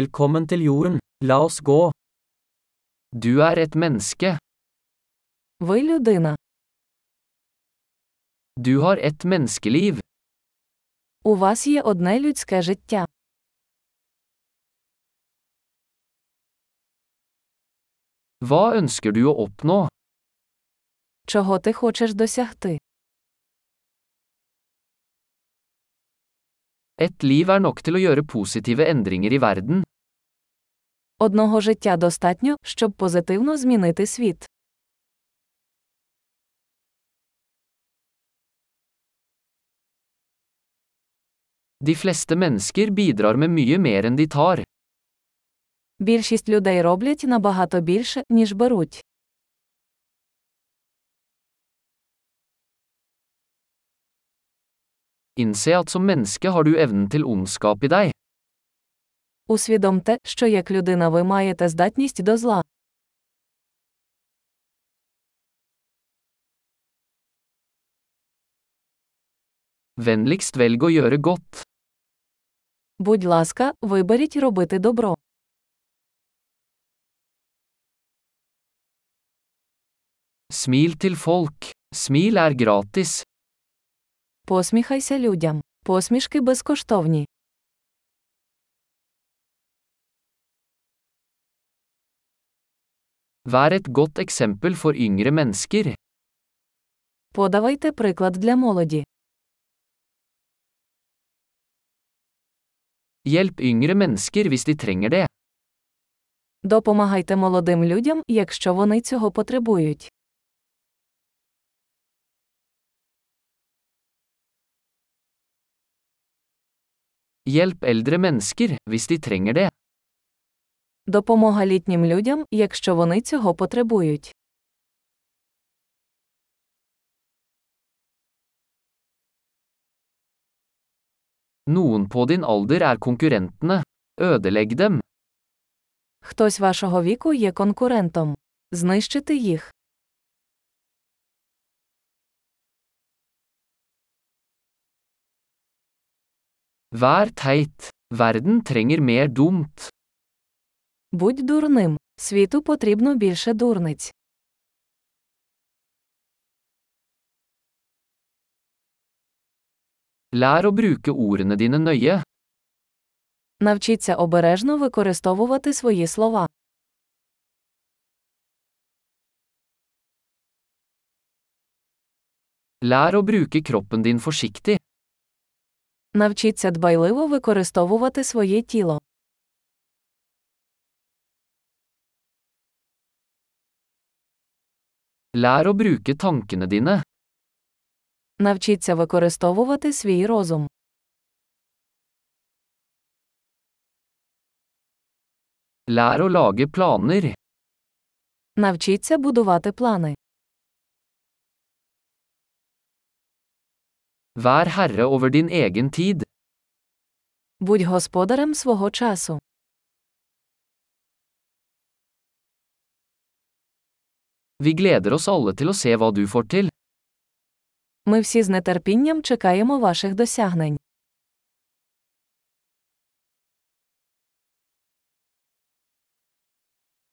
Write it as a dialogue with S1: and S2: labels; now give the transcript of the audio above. S1: Velkommen til jorden, la oss gå. Du er et menneske,
S2: Ви людина.
S1: du har et menneskeliv.
S2: У вас є одне людське життя.
S1: Hva ønsker du å oppnå?
S2: Чого ти хочеш досягти?
S1: Et liv er nok til å gjøre positive endringer i verden.
S2: Одного життя достатньо, щоб позитивно змінити світ.
S1: De fleste mennesker bidrar med mye mer enn de tar.
S2: Більшість людей роблять набагато більше, ніж беруть.
S1: Innse at som menneske har du evnen til ondskap i deg.
S2: Усвідомте, що як людина ви маєте здатність до зла.
S1: Vennligst velg å gjøre godt.
S2: Будь ласка, виберіть робити добро.
S1: Smil til folk. Smil er gratis.
S2: Посміхайся людям. Посмішки безкоштовні.
S1: Vær et godt eksempel for yngre mennesker.
S2: Подавайте приклад для молоді.
S1: Hjelp yngre mennesker hvis de trenger det.
S2: Допомагайте молодим людям, якщо вони цього потребують.
S1: Hjelp eldre mennesker hvis de trenger det.
S2: Допомога літнім людям, якщо вони цього потребують.
S1: Noen på din alder er konkurrentene. Ødelegg dem.
S2: Хтось вашого віку є конкурентом. Знищити їх.
S1: Vær teit. Verden trenger mer dumt.
S2: Будь дурним. Світу потрібно більше дурниць.
S1: Lær å bruke ordene dine nøye.
S2: Навчіться обережно використовувати свої слова.
S1: Lær å bruke kroppen din forsiktig.
S2: Навчіться дбайливо використовувати своє тіло.
S1: Lær å bruke tankene dine.
S2: Навчіться використовувати свій розум.
S1: Lær å lage planer.
S2: Навчіться будувати плани.
S1: Vær herre over din egen tid.
S2: Будь господарем свого часу.
S1: Vi gleder oss alle til å se hva du får til.
S2: Ми всі з нетерпінням чекаємо ваших досягнень.